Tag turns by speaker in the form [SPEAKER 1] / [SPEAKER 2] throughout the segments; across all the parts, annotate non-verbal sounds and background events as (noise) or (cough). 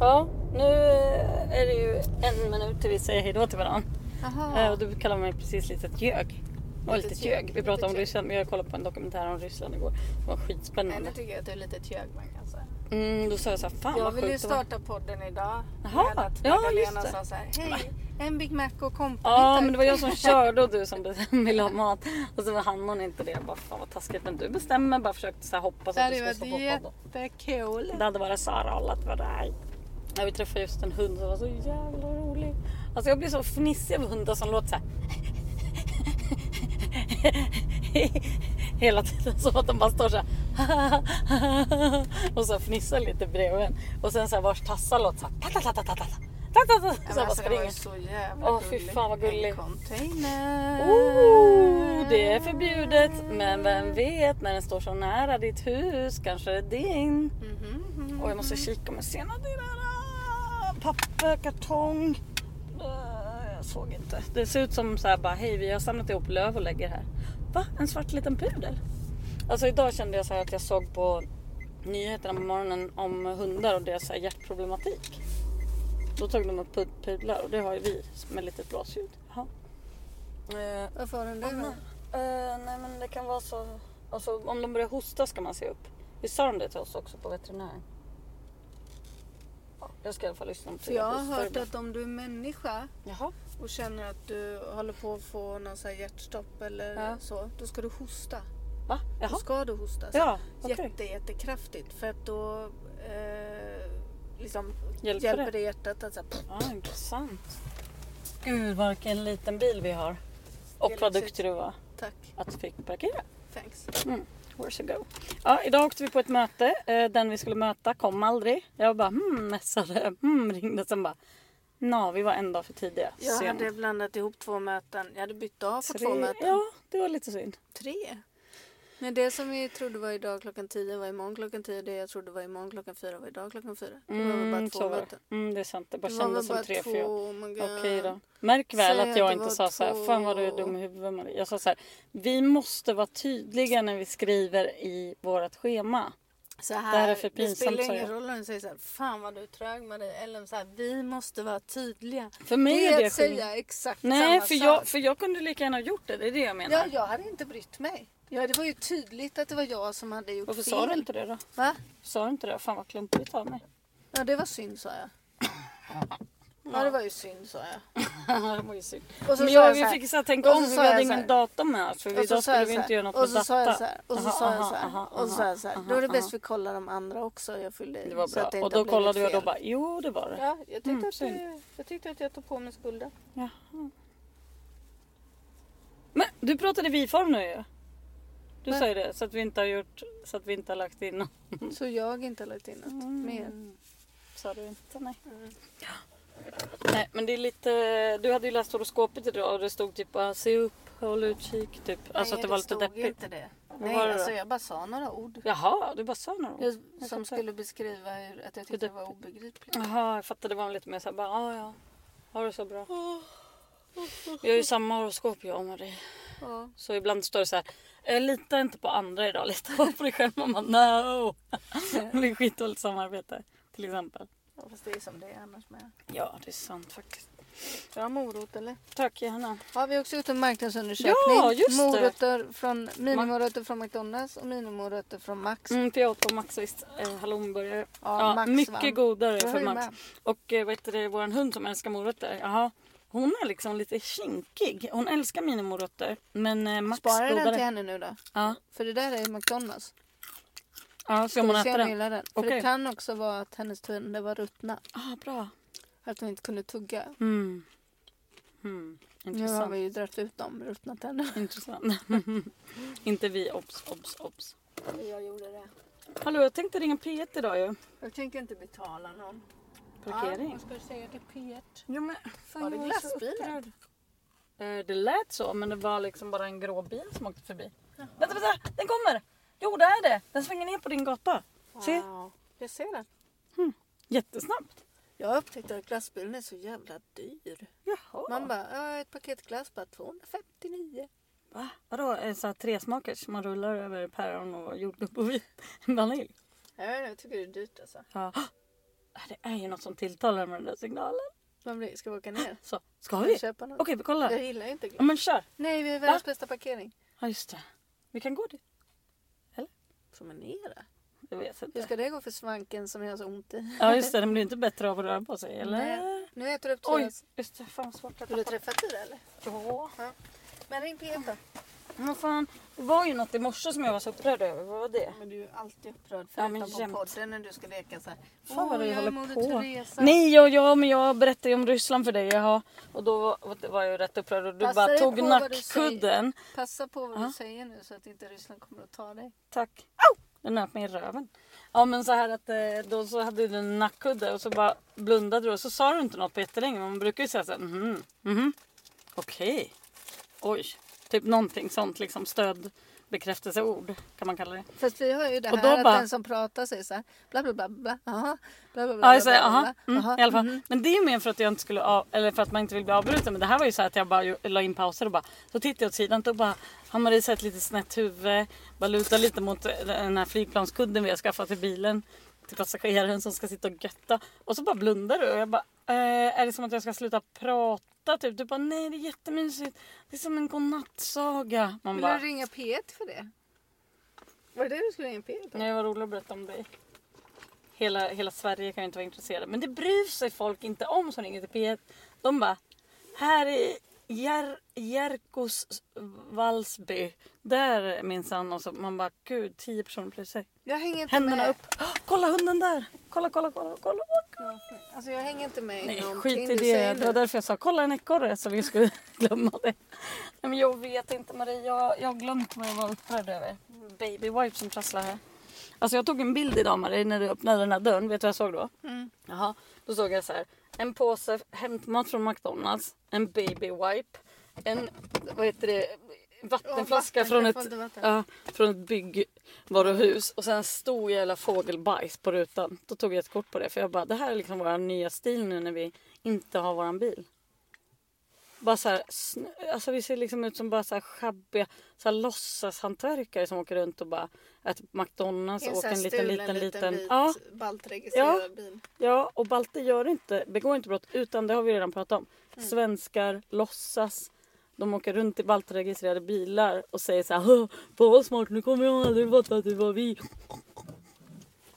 [SPEAKER 1] Ja, nu eh, är det ju en minut till vi säger hejdå till varandra. Eh, Och du kallar mig precis litet ljög. Och
[SPEAKER 2] Litet
[SPEAKER 1] litet
[SPEAKER 2] ljög,
[SPEAKER 1] ljög. Vi pratade
[SPEAKER 2] litet
[SPEAKER 1] om
[SPEAKER 2] ljög.
[SPEAKER 1] Ryssland. Jag kollade på en dokumentär om Ryssland igår. Det var
[SPEAKER 2] Nej, nu
[SPEAKER 1] skitspännande.
[SPEAKER 2] tycker jag att du är lite trög man kan säga.
[SPEAKER 1] Mm, då sa jag så här, fan
[SPEAKER 2] jag
[SPEAKER 1] vad
[SPEAKER 2] ville ju
[SPEAKER 1] sjukt det var.
[SPEAKER 2] starta podden idag.
[SPEAKER 1] Jaha,
[SPEAKER 2] med att
[SPEAKER 1] ja,
[SPEAKER 2] Magdalena
[SPEAKER 1] just det.
[SPEAKER 2] sa så här, hej, en Big Mac och kompani
[SPEAKER 1] Ja
[SPEAKER 2] tack."
[SPEAKER 1] men det var jag som körde och du som bestämde (laughs) ville ha mat. Och så hann hon inte det. Jag bara fan vad taskigt. Men du bestämmer. Bara försökte så här hoppas
[SPEAKER 2] Det
[SPEAKER 1] att du
[SPEAKER 2] hade
[SPEAKER 1] skulle
[SPEAKER 2] varit
[SPEAKER 1] stå på podden.
[SPEAKER 2] jättekul.
[SPEAKER 1] Det hade varit så här rollat för dig. Ja, vi träffade just en hund som var så jävla rolig. Alltså jag blir så fnissig av hundar som låter så här. (laughs) Hela tiden som att de bara står så här. (laughs) och så fnissar lite bredvid en. Och sen så här vars tassar låter så här. Ta, ta, ta, ta, ta, ta, ta, ta, ta. Så
[SPEAKER 2] Ja,
[SPEAKER 1] jag bara
[SPEAKER 2] men alltså, det var
[SPEAKER 1] springer.
[SPEAKER 2] ju så jävla
[SPEAKER 1] Åh, fy
[SPEAKER 2] gulligt.
[SPEAKER 1] fan, vad gulligt.
[SPEAKER 2] En container.
[SPEAKER 1] Oh, det är förbjudet. Men vem vet när den står så nära ditt hus kanske det är din.
[SPEAKER 2] Mhm, mhm.
[SPEAKER 1] Och jag måste kika om jag ser något i det där. Papper, kartong. Eh, Jag såg inte. Det ser ut som så här bara hej vi har samlat ihop löv och lägger här. Va? En svart liten pudel? Alltså idag kände jag så här att jag såg på nyheterna på morgonen om hundar och deras så här hjärtproblematik. Då tog de upp pu- pudlar och det har ju vi med lite blåsljud. Jaha. Eh,
[SPEAKER 2] Varför har den det då?
[SPEAKER 1] Eh, nej men det kan vara så. Alltså om de börjar hosta ska man se upp. Vi sa de det till oss också på veterinären? Ja, Jag ska i alla fall lyssna
[SPEAKER 2] För
[SPEAKER 1] till
[SPEAKER 2] jag
[SPEAKER 1] det
[SPEAKER 2] har
[SPEAKER 1] hos
[SPEAKER 2] hört
[SPEAKER 1] Furby.
[SPEAKER 2] att om du är människa
[SPEAKER 1] Jaha.
[SPEAKER 2] och känner att du håller på att få någon så här hjärtstopp eller
[SPEAKER 1] Ja.
[SPEAKER 2] så, då ska du hosta.
[SPEAKER 1] Va?
[SPEAKER 2] Då
[SPEAKER 1] Jaha.
[SPEAKER 2] ska du hosta. Så
[SPEAKER 1] Ja, okej.
[SPEAKER 2] Jätte, jättekraftigt för att då eh, liksom
[SPEAKER 1] Hjälper
[SPEAKER 2] hjälper,
[SPEAKER 1] det?
[SPEAKER 2] det. hjärtat att så här,
[SPEAKER 1] Ja, intressant. Gud vilken liten bil vi har. Och
[SPEAKER 2] Det är
[SPEAKER 1] vad
[SPEAKER 2] lyxigt.
[SPEAKER 1] duktig du var
[SPEAKER 2] tack,
[SPEAKER 1] att du fick parkera.
[SPEAKER 2] thanks.
[SPEAKER 1] Where's you go? Ja, idag åkte vi på ett möte. Eh, Den vi skulle möta kom aldrig. Jag bara hmm, messade, hmm, ringde. Sen bara, nå vi var en dag för tidiga.
[SPEAKER 2] Jag
[SPEAKER 1] Sen.
[SPEAKER 2] hade blandat ihop två möten. Jag hade bytt av på
[SPEAKER 1] Tre-
[SPEAKER 2] två möten.
[SPEAKER 1] Ja, det var lite synd.
[SPEAKER 2] Tre? Men det som vi trodde var idag klockan 10 var imorgon klockan 10. Det jag trodde var imorgon klockan 4 var idag klockan 4. Det var väl bara
[SPEAKER 1] Mm,
[SPEAKER 2] två
[SPEAKER 1] så var
[SPEAKER 2] möten.
[SPEAKER 1] det. Mm, det är sant. Det bara
[SPEAKER 2] Det var väl
[SPEAKER 1] kändes
[SPEAKER 2] bara
[SPEAKER 1] som tre,
[SPEAKER 2] två,
[SPEAKER 1] fyra.
[SPEAKER 2] oh my god.
[SPEAKER 1] Okej då. Märk väl
[SPEAKER 2] Säg
[SPEAKER 1] att
[SPEAKER 2] att
[SPEAKER 1] jag
[SPEAKER 2] det
[SPEAKER 1] inte
[SPEAKER 2] var
[SPEAKER 1] sa så här,
[SPEAKER 2] två.
[SPEAKER 1] fan vad du är dum i huvudet Marie. Jag sa så här, vi måste vara tydliga när vi skriver i vårt schema.
[SPEAKER 2] Så här,
[SPEAKER 1] Det här är för pinsamt,
[SPEAKER 2] Det
[SPEAKER 1] sa
[SPEAKER 2] spelar ingen
[SPEAKER 1] jag.
[SPEAKER 2] roll om du säger så här, fan vad du är trög med dig. Eller så här, vi måste vara tydliga.
[SPEAKER 1] För mig
[SPEAKER 2] det
[SPEAKER 1] är det
[SPEAKER 2] att
[SPEAKER 1] skillnad.
[SPEAKER 2] säga exakt
[SPEAKER 1] Nej,
[SPEAKER 2] samma
[SPEAKER 1] för
[SPEAKER 2] sak.
[SPEAKER 1] jag, för jag kunde lika gärna ha gjort det. Det är det jag menar.
[SPEAKER 2] Ja, jag hade inte brytt mig. Ja, det var ju tydligt att det var jag som hade gjort
[SPEAKER 1] Varför
[SPEAKER 2] fel.
[SPEAKER 1] sa du inte det då?
[SPEAKER 2] Va?
[SPEAKER 1] Sa du inte det? Fan vad klumpigt av
[SPEAKER 2] (laughs)
[SPEAKER 1] mig.
[SPEAKER 2] Ja, det var synd sa jag. Ja, det var ju synd sa jag.
[SPEAKER 1] det var ju synd.
[SPEAKER 2] Och så
[SPEAKER 1] Men
[SPEAKER 2] sa
[SPEAKER 1] jag,
[SPEAKER 2] jag så
[SPEAKER 1] jag
[SPEAKER 2] här-
[SPEAKER 1] fick så här, tänka
[SPEAKER 2] och så
[SPEAKER 1] om
[SPEAKER 2] sa
[SPEAKER 1] för vi hade
[SPEAKER 2] jag så här-
[SPEAKER 1] ingen dator med oss. För
[SPEAKER 2] Och
[SPEAKER 1] idag
[SPEAKER 2] så sa
[SPEAKER 1] skulle
[SPEAKER 2] jag
[SPEAKER 1] vi
[SPEAKER 2] så
[SPEAKER 1] inte
[SPEAKER 2] här,
[SPEAKER 1] göra något
[SPEAKER 2] och
[SPEAKER 1] med
[SPEAKER 2] så sa jag så här,
[SPEAKER 1] data.
[SPEAKER 2] och så
[SPEAKER 1] Aha,
[SPEAKER 2] sa jag
[SPEAKER 1] aha,
[SPEAKER 2] så
[SPEAKER 1] aha,
[SPEAKER 2] här, och så sa jag så här,
[SPEAKER 1] aha,
[SPEAKER 2] då är det
[SPEAKER 1] aha.
[SPEAKER 2] bäst vi kollar de andra också. Jag fyllde i
[SPEAKER 1] Det var
[SPEAKER 2] så att
[SPEAKER 1] bra.
[SPEAKER 2] det
[SPEAKER 1] Och
[SPEAKER 2] inte
[SPEAKER 1] då
[SPEAKER 2] har blivit
[SPEAKER 1] kollade jag och då
[SPEAKER 2] fel.
[SPEAKER 1] bara, jo det var det.
[SPEAKER 2] Ja, jag tyckte,
[SPEAKER 1] Mm,
[SPEAKER 2] att,
[SPEAKER 1] synd.
[SPEAKER 2] jag, jag tyckte att jag tog på mig skulden.
[SPEAKER 1] Jaha. Men du pratade vi-form nu ju. Du
[SPEAKER 2] Nej.
[SPEAKER 1] sa ju det, så att vi inte har gjort, så att vi inte har lagt in något
[SPEAKER 2] Så jag inte har lagt in något
[SPEAKER 1] Mm.
[SPEAKER 2] mer.
[SPEAKER 1] mer. Sa du inte? Nej. Ja. Nej, men det är lite, du hade ju läst horoskopet idag och det stod typ bara se upp, håll utkik typ. Alltså
[SPEAKER 2] Nej,
[SPEAKER 1] att det var lite
[SPEAKER 2] stod
[SPEAKER 1] deppigt.
[SPEAKER 2] Inte det. Nej,
[SPEAKER 1] var det då?
[SPEAKER 2] alltså jag bara sa några ord.
[SPEAKER 1] Jaha, du bara sa några ord.
[SPEAKER 2] Jag,
[SPEAKER 1] Jag
[SPEAKER 2] som
[SPEAKER 1] fattar.
[SPEAKER 2] skulle beskriva hur, att jag tyckte det var obegripligt.
[SPEAKER 1] Jaha, jag fattade. Det var lite mer såhär bara, ja ja. Har det så
[SPEAKER 2] (laughs)
[SPEAKER 1] bra. Vi har ju samma horoskop jag och Marie.
[SPEAKER 2] Ja.
[SPEAKER 1] Så ibland står det så här. "Eh, Lita inte på andra idag, lita bara (laughs) på dig själv. Man bara no! Det blir skitdåligt samarbete till exempel.
[SPEAKER 2] Ja, Fast det är som det är annars med.
[SPEAKER 1] Ja det är sant faktiskt.
[SPEAKER 2] Bra morot eller?
[SPEAKER 1] Tack gärna.
[SPEAKER 2] Ja, vi har också gjort en marknadsundersökning.
[SPEAKER 1] Ja, just det.
[SPEAKER 2] morötter från, minimorötter från McDonalds och minimorötter från Max.
[SPEAKER 1] Mm, för jag åt på Max visst, eh, hallonburgare.
[SPEAKER 2] Ja, Max
[SPEAKER 1] mycket
[SPEAKER 2] vann.
[SPEAKER 1] godare
[SPEAKER 2] Jag
[SPEAKER 1] för
[SPEAKER 2] höll
[SPEAKER 1] Max.
[SPEAKER 2] med.
[SPEAKER 1] Och eh, vad heter det, våran hund som älskar morötter. Jaha. Hon är liksom lite kinkig. Hon älskar minimorötter. Men eh, Max
[SPEAKER 2] Sparar den till
[SPEAKER 1] godare.
[SPEAKER 2] henne nu då?
[SPEAKER 1] Ja,
[SPEAKER 2] För det där är McDonalds.
[SPEAKER 1] ja, så om
[SPEAKER 2] Vi
[SPEAKER 1] hon äter
[SPEAKER 2] ser om du
[SPEAKER 1] den.
[SPEAKER 2] gillar den. För
[SPEAKER 1] Okej.
[SPEAKER 2] det kan också vara att hennes tänder var ruttna.
[SPEAKER 1] Ah, bra.
[SPEAKER 2] Att hon inte kunde tugga.
[SPEAKER 1] Mm. Mm.
[SPEAKER 2] Nu har
[SPEAKER 1] Intressant.
[SPEAKER 2] vi ju dragit ut de ruttna tänderna.
[SPEAKER 1] Intressant. (laughs) inte vi, obs, obs, obs.
[SPEAKER 2] Jag gjorde det.
[SPEAKER 1] Hallå, jag tänkte ringa P1 idag ju.
[SPEAKER 2] Jag tänker inte betala någon.
[SPEAKER 1] Parkering.
[SPEAKER 2] ska du säga till P1?
[SPEAKER 1] Jo men, fan,
[SPEAKER 2] Var det
[SPEAKER 1] jag är så
[SPEAKER 2] glassbilen?
[SPEAKER 1] upprörd. Eh, Det lät så, men det var liksom bara en grå bil som åkte förbi. Vänta, vänta! Den kommer! Jo, där är det! Den svänger ner på din gata. Se,
[SPEAKER 2] Jag ser den.
[SPEAKER 1] jättesnabbt.
[SPEAKER 2] Jag upptäckte att glassbilen är så jävla dyr.
[SPEAKER 1] Jaha.
[SPEAKER 2] Man bara, ja, ett paket glass bara 259.
[SPEAKER 1] Va? Vadå, en sån här tresmakers? Man rullar över (laughs) päron och jordgubb och vit- vanilj.
[SPEAKER 2] Ja, jag tycker det är dyrt alltså.
[SPEAKER 1] Ja. (gasps) Ah, det är ju något som tilltalar med den där signalen.
[SPEAKER 2] Man blir, ska vi åka ner?
[SPEAKER 1] Så, ska
[SPEAKER 2] Ska vi
[SPEAKER 1] vi?
[SPEAKER 2] köpa något?
[SPEAKER 1] Okej, Mm. vi kollar.
[SPEAKER 2] Jag gillar inte
[SPEAKER 1] Ja,
[SPEAKER 2] glass.
[SPEAKER 1] men kör.
[SPEAKER 2] Nej, vi har världens bästa parkering.
[SPEAKER 1] Ja, just det. Vi kan gå dit.
[SPEAKER 2] Promenera?
[SPEAKER 1] Jag vet inte.
[SPEAKER 2] Hur ska det gå för svanken som jag har så ont i?
[SPEAKER 1] Ja, just det. Den blir inte bättre av att röra på sig, eller?
[SPEAKER 2] Nej. Nu äter du upp
[SPEAKER 1] Oj,
[SPEAKER 2] Tyras.
[SPEAKER 1] just det. Fan vad svårt att
[SPEAKER 2] Har du
[SPEAKER 1] tappa.
[SPEAKER 2] träffat Tyra eller?
[SPEAKER 1] Ja.
[SPEAKER 2] Men ring Peter.
[SPEAKER 1] Men fan, det var ju något i morse som jag var så upprörd över. Vad var det?
[SPEAKER 2] Men du är ju alltid upprörd
[SPEAKER 1] Ja, men
[SPEAKER 2] förutom på
[SPEAKER 1] jämt.
[SPEAKER 2] podden när du ska leka så här.
[SPEAKER 1] Fan vad
[SPEAKER 2] Åh,
[SPEAKER 1] du
[SPEAKER 2] jag är
[SPEAKER 1] håller
[SPEAKER 2] Moder
[SPEAKER 1] på.
[SPEAKER 2] Teresa.
[SPEAKER 1] Nej, ja, ja, men jag berättade ju om Ryssland för dig. Jaha. Och då var- var jag ju rätt upprörd och du
[SPEAKER 2] Passa
[SPEAKER 1] bara
[SPEAKER 2] dig
[SPEAKER 1] tog
[SPEAKER 2] Alltså, på vad du säger.
[SPEAKER 1] nackkudden.
[SPEAKER 2] Passa på vad
[SPEAKER 1] Ja.
[SPEAKER 2] du säger nu så att inte Ryssland kommer att ta dig.
[SPEAKER 1] Tack. Den nöp mig i röven. Ja men så här att eh, då så hade du en nackkudde och så bara blundade du och så sa du inte något på jättelänge. Man brukar ju säga så här, mhm, mhm, okej, oj. Typ någonting sånt liksom stöd, bekräftelseord kan man kalla det.
[SPEAKER 2] Fast vi har ju det
[SPEAKER 1] Och
[SPEAKER 2] här
[SPEAKER 1] då
[SPEAKER 2] att
[SPEAKER 1] bara-
[SPEAKER 2] den som pratar säger så här bla bla bla bla aha, bla bla bla
[SPEAKER 1] Ja jag
[SPEAKER 2] bla,
[SPEAKER 1] säger
[SPEAKER 2] bla,
[SPEAKER 1] aha,
[SPEAKER 2] bla,
[SPEAKER 1] mm,
[SPEAKER 2] aha,
[SPEAKER 1] i alla fall.
[SPEAKER 2] mhm.
[SPEAKER 1] Men det är ju mer för att jag inte skulle av, eller för att man inte vill bli avbruten. Men det här var ju så här att jag bara ju- la in pauser och bara så tittade jag åt sidan och bara har Marie sett lite snett huvud. Bara lutar lite mot eh, den här flygplanskudden vi har skaffat till bilen. Till passageraren som ska sitta och götta. Och så bara blundar du och jag bara eh, är det som att jag ska sluta prata typ? Du bara nej det är jättemysigt. Det är som en godnattsaga. Man
[SPEAKER 2] Vill
[SPEAKER 1] bara
[SPEAKER 2] du ringa P1 för det? Var det det du skulle ringa E P1 om?
[SPEAKER 1] nej vad roligt att berätta om dig. Hela, hela Sverige kan ju inte vara intresserade. Men det bryr sig folk inte om som ringer till P1. De bara, här i Jer- Jerkos Valsby. Där minsann. Och så man bara, gud 10 personer bryr sig.
[SPEAKER 2] Jag hänger inte
[SPEAKER 1] Händerna
[SPEAKER 2] med.
[SPEAKER 1] upp. Åh, kolla hunden där! Kolla, kolla, kolla, kolla.
[SPEAKER 2] Alltså jag hänger inte med i
[SPEAKER 1] Nej,
[SPEAKER 2] någonting
[SPEAKER 1] skit i
[SPEAKER 2] du
[SPEAKER 1] det.
[SPEAKER 2] säger
[SPEAKER 1] Det var
[SPEAKER 2] nu.
[SPEAKER 1] därför jag sa kolla en ekorre så vi skulle (laughs) glömma det. Nej, men jag vet inte Marie. Jag, jag har glömt vad jag var upprörd över. Baby wipe som trasslar här. Alltså jag tog en bild idag Marie när du öppnade den här dörren. Vet du vad jag såg då?
[SPEAKER 2] Mm.
[SPEAKER 1] Jaha. Då såg jag så här. En påse hämtmat från McDonalds. En baby wipe. En vad heter det? Vattenflaska
[SPEAKER 2] vatten,
[SPEAKER 1] från
[SPEAKER 2] jag
[SPEAKER 1] ett,
[SPEAKER 2] får inte vatten.
[SPEAKER 1] ja, från ett byggvaruhus. Och sen stor jävla fågelbajs på rutan. Då tog jag ett kort på det. För jag bara, det här är liksom vår nya stil nu när vi inte har våran bil. Bara så här, snö- alltså vi ser liksom ut som bara så här schabbiga så här låtsashantverkare som åker runt och bara äter på McDonalds
[SPEAKER 2] I en
[SPEAKER 1] och åker
[SPEAKER 2] så här
[SPEAKER 1] en liten,
[SPEAKER 2] stulen
[SPEAKER 1] liten, liten.
[SPEAKER 2] vit
[SPEAKER 1] Ja,
[SPEAKER 2] baltregistrerad
[SPEAKER 1] Ja.
[SPEAKER 2] bil.
[SPEAKER 1] ja, och Balte gör inte, begår inte brott utan det har vi redan pratat om. Svenskar låtsas. De åker runt i baltregistrerade bilar och säger så här, "Hå, fan vad smart, nu kommer jag aldrig fatta att det var vi.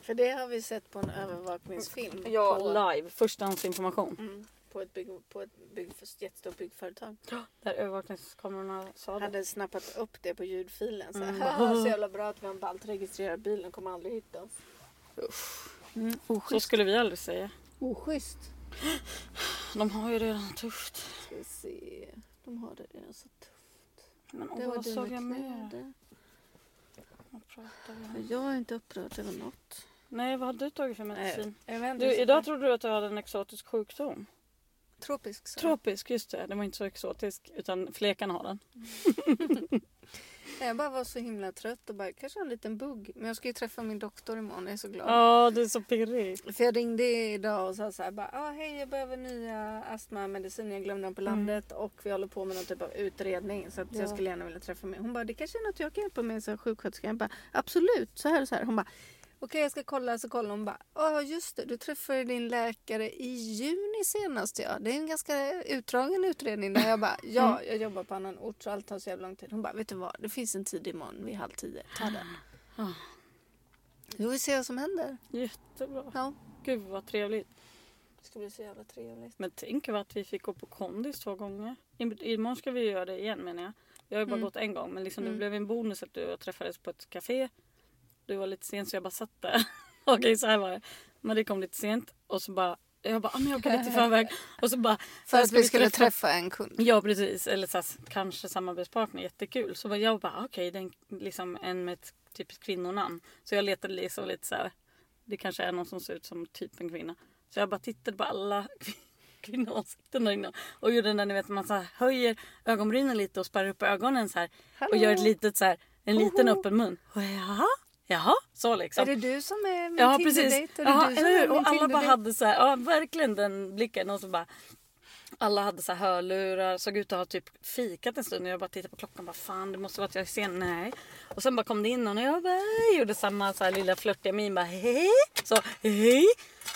[SPEAKER 2] För det har vi sett på en övervakningsfilm.
[SPEAKER 1] Ja,
[SPEAKER 2] på,
[SPEAKER 1] live, förstahandsinformation.
[SPEAKER 2] mm, på ett, bygg, på ett bygg, jättestort byggföretag.
[SPEAKER 1] Där övervakningskamerorna sa det.
[SPEAKER 2] hade snappat upp det på ljudfilen. Så, här, "Haha, så jävla bra att vi har en baltregistrerad bil. De kommer aldrig hitta oss. Mm,
[SPEAKER 1] Så
[SPEAKER 2] oschysst.
[SPEAKER 1] skulle vi aldrig säga.
[SPEAKER 2] oschysst.
[SPEAKER 1] De har ju redan tufft.
[SPEAKER 2] Ska vi se. De har det redan så tufft.
[SPEAKER 1] Men
[SPEAKER 2] Det
[SPEAKER 1] åh,
[SPEAKER 2] var
[SPEAKER 1] vad såg jag
[SPEAKER 2] dina
[SPEAKER 1] mer?
[SPEAKER 2] kläder.
[SPEAKER 1] Vad pratar vi om?
[SPEAKER 2] Jag är inte upprörd över något.
[SPEAKER 1] Nej, vad har du tagit för medicin?
[SPEAKER 2] Jag vet inte
[SPEAKER 1] Du,
[SPEAKER 2] så
[SPEAKER 1] idag
[SPEAKER 2] där.
[SPEAKER 1] trodde du att du hade en exotisk sjukdom.
[SPEAKER 2] Tropisk sa jag.
[SPEAKER 1] Tropisk, just det. Den var inte så exotisk, utan fläkarna har den.
[SPEAKER 2] Nej, Jag bara var så himla trött och bara kanske har en liten bugg. Men jag ska ju träffa min doktor imorgon. Jag är så glad.
[SPEAKER 1] Ja, du är så pirrig.
[SPEAKER 2] För jag ringde idag och sa så här bara, ah, hej jag behöver nya astmamediciner, jag glömde dem på landet och vi håller på med någon typ av utredning så att
[SPEAKER 1] Mm. Ja.
[SPEAKER 2] jag skulle gärna vilja träffa mig. Hon bara, det kanske är något jag kan hjälpa med som sjuksköterska. Jag bara, absolut, så här och så här. Hon bara, okej jag ska kolla, så kollar hon bara, ja ah, just det, du träffade din läkare i juni senast ja. Det är en ganska utdragen utredning där
[SPEAKER 1] (laughs)
[SPEAKER 2] jag bara, ja
[SPEAKER 1] Mm.
[SPEAKER 2] jag jobbar på annan ort så allt tar så jävla lång tid. Hon bara, vet du vad, det finns en tid imorgon vid halv tio, ta den.
[SPEAKER 1] Ah.
[SPEAKER 2] Jo, vi ser vad som händer.
[SPEAKER 1] Jättebra.
[SPEAKER 2] Ja.
[SPEAKER 1] Gud vad trevligt.
[SPEAKER 2] Det ska bli så jävla trevligt.
[SPEAKER 1] Men tänk vad att vi fick gå på kondis två gånger. I- Imorgon ska vi göra det igen menar jag. Jag har ju bara
[SPEAKER 2] Mm.
[SPEAKER 1] gått en gång men liksom det
[SPEAKER 2] Mm.
[SPEAKER 1] blev en bonus att du och jag träffades på ett café. Du var lite sen så jag bara satt där. (laughs) Okej så här var det. Marie kom lite sent och så bara jag bara, ah, men jag åker lite i förväg. Och så bara, "Alltså,
[SPEAKER 2] För att
[SPEAKER 1] ska
[SPEAKER 2] vi skulle träffa en kund. liksom.
[SPEAKER 1] Ja precis, eller så här, kanske samarbetspartner, jättekul. Så var jag bara okej, det är en- liksom en med ett typiskt kvinnonamn. Så jag letade liksom lite så här, det kanske är någon som ser ut som typ en kvinna. Så jag bara tittade på alla (laughs) kvin- kvinnoansikten där inne och gjorde den där ni vet man så här, höjer ögonbrynen lite och spärrar upp ögonen så här. Och gör ett litet så här, en liten
[SPEAKER 2] Hoho.
[SPEAKER 1] öppen mun. Och jaha, jaha, så liksom.
[SPEAKER 2] Är det du som är min
[SPEAKER 1] Ja precis.
[SPEAKER 2] Tinder-dejt? Är det
[SPEAKER 1] Ja,
[SPEAKER 2] du som
[SPEAKER 1] eller
[SPEAKER 2] är
[SPEAKER 1] hur?
[SPEAKER 2] min
[SPEAKER 1] Och alla bara
[SPEAKER 2] Tinder-dejt?
[SPEAKER 1] hade så här, ja verkligen den blicken och så bara alla hade så här hörlurar, såg ut att ha typ fikat en stund och jag bara tittade på klockan och bara fan det måste vara att jag är sen. Nej. Och sen bara kom det in någon och jag bara, hej, gjorde samma så här lilla flörtiga min bara hej. Så hej.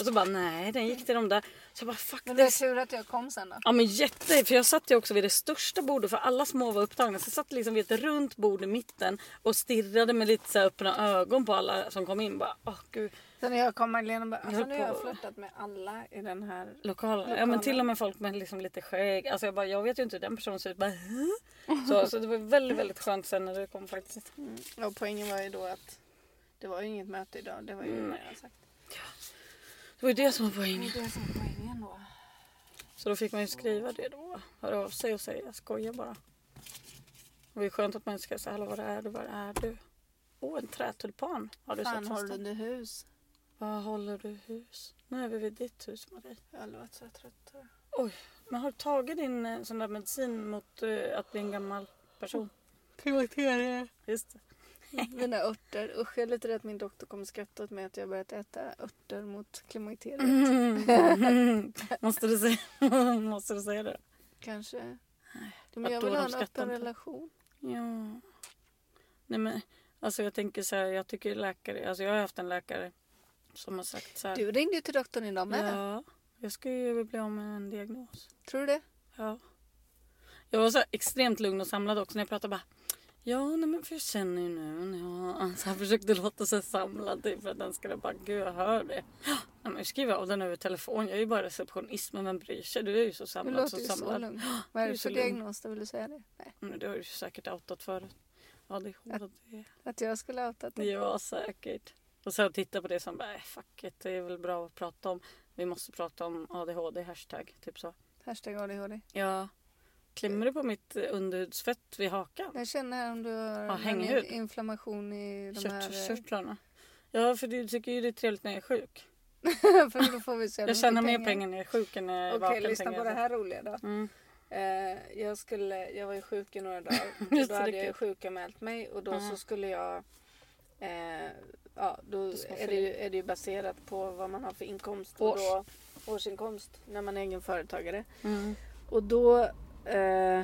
[SPEAKER 1] Och så bara nej den gick till de där. Så jag bara fuck
[SPEAKER 2] Men alltså-
[SPEAKER 1] det
[SPEAKER 2] det
[SPEAKER 1] är
[SPEAKER 2] är tur att jag kom sen då.
[SPEAKER 1] Ja men jätte, för jag satt ju också vid det största bordet för alla små var upptagna. Så jag satt liksom vid ett runt bord i mitten och stirrade med lite så här öppna ögon på alla som kom in. Bara, åh gud,
[SPEAKER 2] Så när jag kom Magdalena bara, alltså
[SPEAKER 1] höll
[SPEAKER 2] nu har jag
[SPEAKER 1] på-
[SPEAKER 2] flörtat med alla i den här.
[SPEAKER 1] lokalen. Ja men
[SPEAKER 2] Lokalen.
[SPEAKER 1] till och med folk med liksom lite skägg. Alltså jag bara, jag vet ju inte hur den personen ser ut. Bara, "Hä?" så, så det var väldigt, väldigt skönt sen när det kom faktiskt.
[SPEAKER 2] Och poängen var ju då att det var ju inget möte idag. Det var ju
[SPEAKER 1] Mm.
[SPEAKER 2] det jag har sagt.
[SPEAKER 1] Det var ju det som var
[SPEAKER 2] Det
[SPEAKER 1] poängen.
[SPEAKER 2] är det som är poängen då.
[SPEAKER 1] Så då fick man ju skriva det då. Höra av sig och säga, jag skojar bara. Det var ju skönt att man inte ska säga, hallå var är du, var är du? Åh en trätulpan har du
[SPEAKER 2] Fan
[SPEAKER 1] sett
[SPEAKER 2] håller
[SPEAKER 1] förresten?
[SPEAKER 2] du under hus?
[SPEAKER 1] Var håller du hus? Nu är vi vid ditt hus Marie.
[SPEAKER 2] Jag har aldrig varit så trött.
[SPEAKER 1] Men har du tagit din eh, sån där medicin mot eh, att bli en gammal person?
[SPEAKER 2] Klimakterier.
[SPEAKER 1] Just det.
[SPEAKER 2] Mina örter. Usch, jag är lite rädd att min doktor kommer skratta åt mig att jag börjat äta örter mot klimakteriet.
[SPEAKER 1] Mm. (laughs) måste, du säga, (laughs) måste du säga det?
[SPEAKER 2] Kanske. Men
[SPEAKER 1] att
[SPEAKER 2] jag
[SPEAKER 1] då
[SPEAKER 2] vill
[SPEAKER 1] de
[SPEAKER 2] ha en
[SPEAKER 1] skrattar
[SPEAKER 2] öppen
[SPEAKER 1] inte.
[SPEAKER 2] relation.
[SPEAKER 1] Ja. Nej men alltså jag tänker så här, jag tycker läkare, alltså jag har haft en läkare som har sagt så här.
[SPEAKER 2] Du ringde ju till doktorn idag med.
[SPEAKER 1] ja, jag ska ju bli av med en diagnos.
[SPEAKER 2] Tror du det?
[SPEAKER 1] Ja. Jag var så här extremt lugn och samlad också när jag pratade bara Ja, nej men för jag känner ju nu. Ja. Så jag försökte låta sig samlad typ för att den skulle bara, gud jag hör det. Ja, nej, men jag skriver av den över telefon. Jag är ju bara receptionist men vem bryr sig? Du är ju så
[SPEAKER 2] Du
[SPEAKER 1] samlad.
[SPEAKER 2] låter
[SPEAKER 1] så
[SPEAKER 2] ju
[SPEAKER 1] samlad.
[SPEAKER 2] så lugn. Vad är
[SPEAKER 1] du är
[SPEAKER 2] det
[SPEAKER 1] så
[SPEAKER 2] för
[SPEAKER 1] lugn.
[SPEAKER 2] diagnos då? Vill du säga det? Nej.
[SPEAKER 1] Men det har du ju säkert outat förut. ADHD.
[SPEAKER 2] Att jag skulle ha outat det?
[SPEAKER 1] Ja, säkert. Och så titta på det som bara, äh, fuck it, det är väl bra att prata om. Vi måste prata om ADHD, hashtag, typ så.
[SPEAKER 2] Hashtag ADHD.
[SPEAKER 1] Ja. Klämmer du på mitt eh, underhudsfett vid hakan?
[SPEAKER 2] Jag känner här om du har någon
[SPEAKER 1] hänghud.
[SPEAKER 2] in- inflammation i de här... eh,
[SPEAKER 1] Körtkörtlarna. Ja, för du tycker ju det är trevligt när jag är sjuk.
[SPEAKER 2] eh, (laughs) för då får vi så jävla
[SPEAKER 1] Jag tjänar mer
[SPEAKER 2] mycket
[SPEAKER 1] pengar när jag är sjuk än när jag är
[SPEAKER 2] Okej,
[SPEAKER 1] vaken.
[SPEAKER 2] lyssna
[SPEAKER 1] tänker
[SPEAKER 2] på
[SPEAKER 1] jag
[SPEAKER 2] det
[SPEAKER 1] så.
[SPEAKER 2] här roliga då.
[SPEAKER 1] Mm.
[SPEAKER 2] Eh, jag, skulle, jag var ju sjuk i
[SPEAKER 1] (laughs)
[SPEAKER 2] några dagar.
[SPEAKER 1] Just
[SPEAKER 2] Och
[SPEAKER 1] det,
[SPEAKER 2] då
[SPEAKER 1] det
[SPEAKER 2] hade
[SPEAKER 1] är
[SPEAKER 2] jag ju
[SPEAKER 1] kul.
[SPEAKER 2] sjukanmält mig och då
[SPEAKER 1] Mm.
[SPEAKER 2] så skulle jag... Eh, ja, då
[SPEAKER 1] ska man
[SPEAKER 2] är det,
[SPEAKER 1] fylla
[SPEAKER 2] ju, är det ju baserat på vad man har för inkomst.
[SPEAKER 1] Års.
[SPEAKER 2] Och då, årsinkomst när man är egen företagare.
[SPEAKER 1] Mm.
[SPEAKER 2] Och då eh,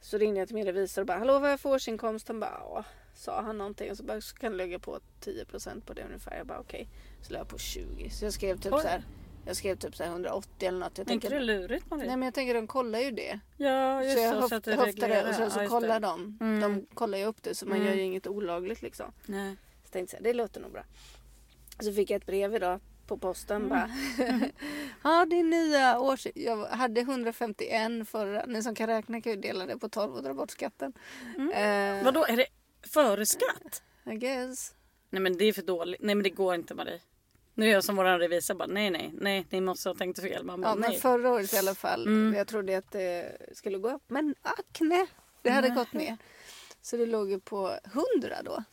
[SPEAKER 2] så ringde jag till min revisor och bara hallå vad är jag för årsinkomst? Han bara ja. Sa han någonting och så bara så kan du lägga på 10% på det ungefär. Jag bara okej. Så la jag på 20. Så jag skrev typ
[SPEAKER 1] Oj.
[SPEAKER 2] så här. Jag skrev typ så här 180 eller något. Jag
[SPEAKER 1] Är inte det
[SPEAKER 2] tänker,
[SPEAKER 1] lurigt Marie?
[SPEAKER 2] nej men jag tänker de kollar ju det.
[SPEAKER 1] Ja, just
[SPEAKER 2] så jag
[SPEAKER 1] det.
[SPEAKER 2] höf-
[SPEAKER 1] så att det
[SPEAKER 2] höftade
[SPEAKER 1] reglerar.
[SPEAKER 2] och sen så
[SPEAKER 1] Ja, just
[SPEAKER 2] kollar
[SPEAKER 1] det.
[SPEAKER 2] de.
[SPEAKER 1] Mm.
[SPEAKER 2] De kollar ju upp det så man
[SPEAKER 1] Mm.
[SPEAKER 2] gör ju inget olagligt liksom.
[SPEAKER 1] Nej.
[SPEAKER 2] Så tänkte jag så här, det låter nog bra. Så fick jag ett brev idag på posten bara. Mm. (laughs) ja, det är nya års... Jag hade 151 förra. Ni som kan räkna kan ju dela det på 12 och dra bort skatten. Eh,
[SPEAKER 1] Vadå, är det före skatt?
[SPEAKER 2] I guess.
[SPEAKER 1] Nej men det är för dåligt. Nej men det går inte Marie. Nu är jag som våran revisor bara nej nej nej ni måste ha tänkt fel. Man bara,
[SPEAKER 2] Ja, men
[SPEAKER 1] nej.
[SPEAKER 2] förra året i alla fall.
[SPEAKER 1] Mm.
[SPEAKER 2] Jag trodde att det skulle gå upp. Men ack nej, det hade gått ner. Så det låg ju på 100 då.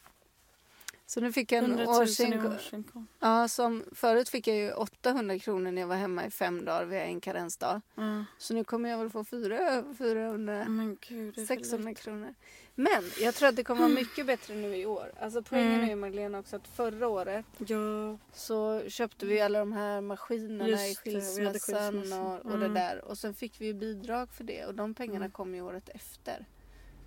[SPEAKER 2] Så nu fick jag en
[SPEAKER 1] 100 000 i
[SPEAKER 2] årsinkomst.
[SPEAKER 1] årsinkomst.
[SPEAKER 2] Ja, som förut fick jag ju 800 kronor när jag var hemma i fem dagar via en karensdag.
[SPEAKER 1] Ja.
[SPEAKER 2] Så nu kommer jag väl få fyra- 400,
[SPEAKER 1] Men gud. Mm, Det är för lite.
[SPEAKER 2] 600 kronor. Men jag tror att det kommer vara mycket bättre nu i år. Alltså poängen
[SPEAKER 1] Mm.
[SPEAKER 2] är ju Magdalena också att förra året
[SPEAKER 1] Ja.
[SPEAKER 2] så köpte vi alla de här maskinerna
[SPEAKER 1] Mm. Just det,
[SPEAKER 2] i
[SPEAKER 1] vi hade
[SPEAKER 2] skilsmässan
[SPEAKER 1] skilsmässan.
[SPEAKER 2] och, och det
[SPEAKER 1] Mm.
[SPEAKER 2] där. Och sen fick vi ju bidrag för det och de pengarna
[SPEAKER 1] Mm.
[SPEAKER 2] kom ju året efter.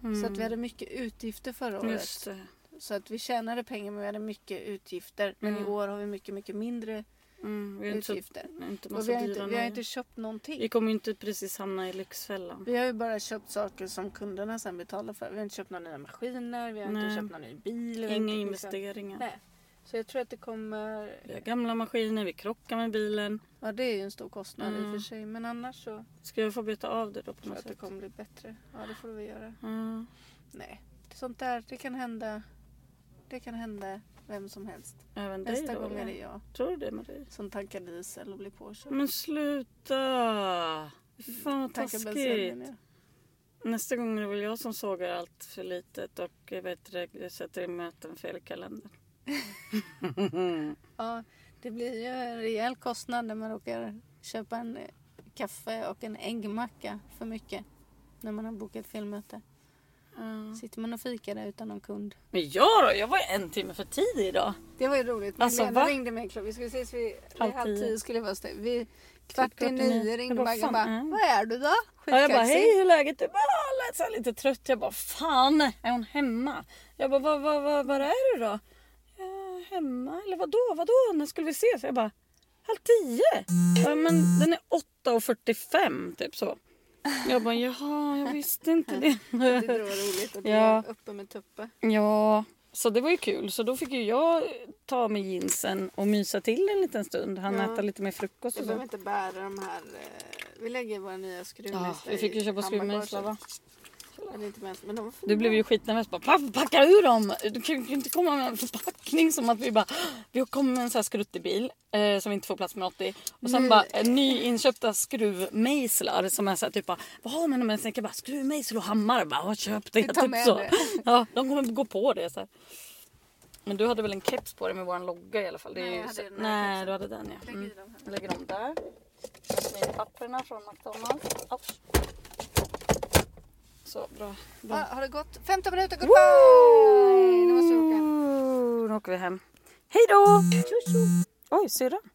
[SPEAKER 1] Mm.
[SPEAKER 2] Så att vi hade mycket utgifter förra året.
[SPEAKER 1] Just det.
[SPEAKER 2] Så att vi tjänade pengar men vi hade mycket utgifter. Men
[SPEAKER 1] Mm.
[SPEAKER 2] i år har vi mycket, mycket mindre
[SPEAKER 1] Mm. Vi är inte så
[SPEAKER 2] utgifter.
[SPEAKER 1] Inte
[SPEAKER 2] typ- Och
[SPEAKER 1] massa
[SPEAKER 2] vi har
[SPEAKER 1] dyra
[SPEAKER 2] inte, vi har
[SPEAKER 1] nöjen.
[SPEAKER 2] inte köpt
[SPEAKER 1] Vi
[SPEAKER 2] någonting.
[SPEAKER 1] kommer ju inte precis hamna i Lyxfällan.
[SPEAKER 2] Vi har ju bara köpt saker som kunderna sen betalar för. Vi har inte köpt några nya maskiner, vi har
[SPEAKER 1] Nej.
[SPEAKER 2] inte köpt någon ny bil. vi har
[SPEAKER 1] Inga
[SPEAKER 2] inte liksom-
[SPEAKER 1] investeringar.
[SPEAKER 2] Nej. Så jag tror att det kommer...
[SPEAKER 1] Vi har gamla maskiner, vi krockar med bilen.
[SPEAKER 2] Ja, det är ju en stor kostnad i och
[SPEAKER 1] Mm.
[SPEAKER 2] för sig. Men annars så tror
[SPEAKER 1] Ska jag få beta av det då på
[SPEAKER 2] jag
[SPEAKER 1] något
[SPEAKER 2] att det
[SPEAKER 1] sätt?
[SPEAKER 2] kommer bli bättre. Ja, det får vi göra.
[SPEAKER 1] Mm.
[SPEAKER 2] Nej, sånt där, det kan hända. Det kan hända vem som helst.
[SPEAKER 1] Även dig
[SPEAKER 2] Nästa
[SPEAKER 1] då?
[SPEAKER 2] gång är
[SPEAKER 1] eller?
[SPEAKER 2] det jag
[SPEAKER 1] Tror du det Marie?
[SPEAKER 2] som tankar diesel och blir påkörd.
[SPEAKER 1] Men sluta! Fan vad
[SPEAKER 2] Tankar bensin,
[SPEAKER 1] taskigt.
[SPEAKER 2] menar jag.
[SPEAKER 1] Nästa gång är det väl jag som sågar allt för litet och eh, vet du, jag sätter in möten fel i kalendern.
[SPEAKER 2] Ja, det blir ju en rejäl kostnad när man råkar köpa en eh, kaffe och en äggmacka för mycket när man har bokat filmmöte.
[SPEAKER 1] Mm.
[SPEAKER 2] Sitter man och fikar där utan någon kund.
[SPEAKER 1] Men jag då? Jag var en timme för tidig idag.
[SPEAKER 2] Det var ju roligt.
[SPEAKER 1] Alltså,
[SPEAKER 2] Alltså, Lena
[SPEAKER 1] va?
[SPEAKER 2] ringde mig klockan, vi skulle ses vid
[SPEAKER 1] Halv
[SPEAKER 2] halv, halv
[SPEAKER 1] tio.
[SPEAKER 2] tio skulle vi vara stängda. Vid kvart i
[SPEAKER 1] kvart i nio.
[SPEAKER 2] nio
[SPEAKER 1] Jag
[SPEAKER 2] ringde
[SPEAKER 1] bara,
[SPEAKER 2] Maggan
[SPEAKER 1] fan,
[SPEAKER 2] bara,
[SPEAKER 1] nej.
[SPEAKER 2] vad är du då?
[SPEAKER 1] Ja, jag bara
[SPEAKER 2] Skitkaxig.
[SPEAKER 1] hej hur är läget? Du bara "Ah", lät så här lite trött. Jag bara fan är hon hemma? Jag bara vad vad vad var är du då? Ja, hemma eller vadå vadå när skulle vi ses? Jag bara Halv tio? Ja, men den är 8.45 typ så. Jag bara jaha, jag visste inte det.
[SPEAKER 2] Det var roligt att bli
[SPEAKER 1] Ja.
[SPEAKER 2] uppe med tuppe.
[SPEAKER 1] (laughs) Ja, så det var ju kul. Så då fick ju jag ta med jeansen och mysa till en liten stund. Han
[SPEAKER 2] Ja.
[SPEAKER 1] äta lite mer frukost
[SPEAKER 2] Vi
[SPEAKER 1] och
[SPEAKER 2] behöver
[SPEAKER 1] så.
[SPEAKER 2] inte bära de här... eh, Vi lägger våra nya skruvmejslar
[SPEAKER 1] Ja, vi fick ju
[SPEAKER 2] i
[SPEAKER 1] köpa skruvmejslar va?
[SPEAKER 2] handbagaget. Eller inte med, men de var fina.
[SPEAKER 1] Du blev ju skitnervös. Bara, "Pa- packa ur dem! Du kan ju inte komma med en förpackning som att vi bara... Vi har kommit med en sån här skruttig bil eh, som vi inte får plats med 80. Och sen
[SPEAKER 2] Nej.
[SPEAKER 1] bara eh, nyinköpta skruvmejslar som är så här typ bara... Vad har man med en bara Skruvmejsel och hammare. Bara, "Ja, köp det.
[SPEAKER 2] Vi tar
[SPEAKER 1] Typ
[SPEAKER 2] med
[SPEAKER 1] så.
[SPEAKER 2] det.
[SPEAKER 1] (laughs) Ja, de kommer gå på det. Så här. Men du hade väl en keps på dig med vår logga i alla fall? Det är
[SPEAKER 2] Nej,
[SPEAKER 1] ju
[SPEAKER 2] jag hade
[SPEAKER 1] så-
[SPEAKER 2] den här
[SPEAKER 1] Nej
[SPEAKER 2] kepsen.
[SPEAKER 1] du hade den ja.
[SPEAKER 2] Lägger
[SPEAKER 1] Mm.
[SPEAKER 2] i dem här.
[SPEAKER 1] Jag lägger dem där. Papperna från McDonalds. Ouch. Så bra. bra.
[SPEAKER 2] Ah, har det gått 15 minuter? Goodbye! Nu måste vi åka.
[SPEAKER 1] Nu åker vi hem. Hej då!
[SPEAKER 2] Tjo, tjo.
[SPEAKER 1] Oj, syrran.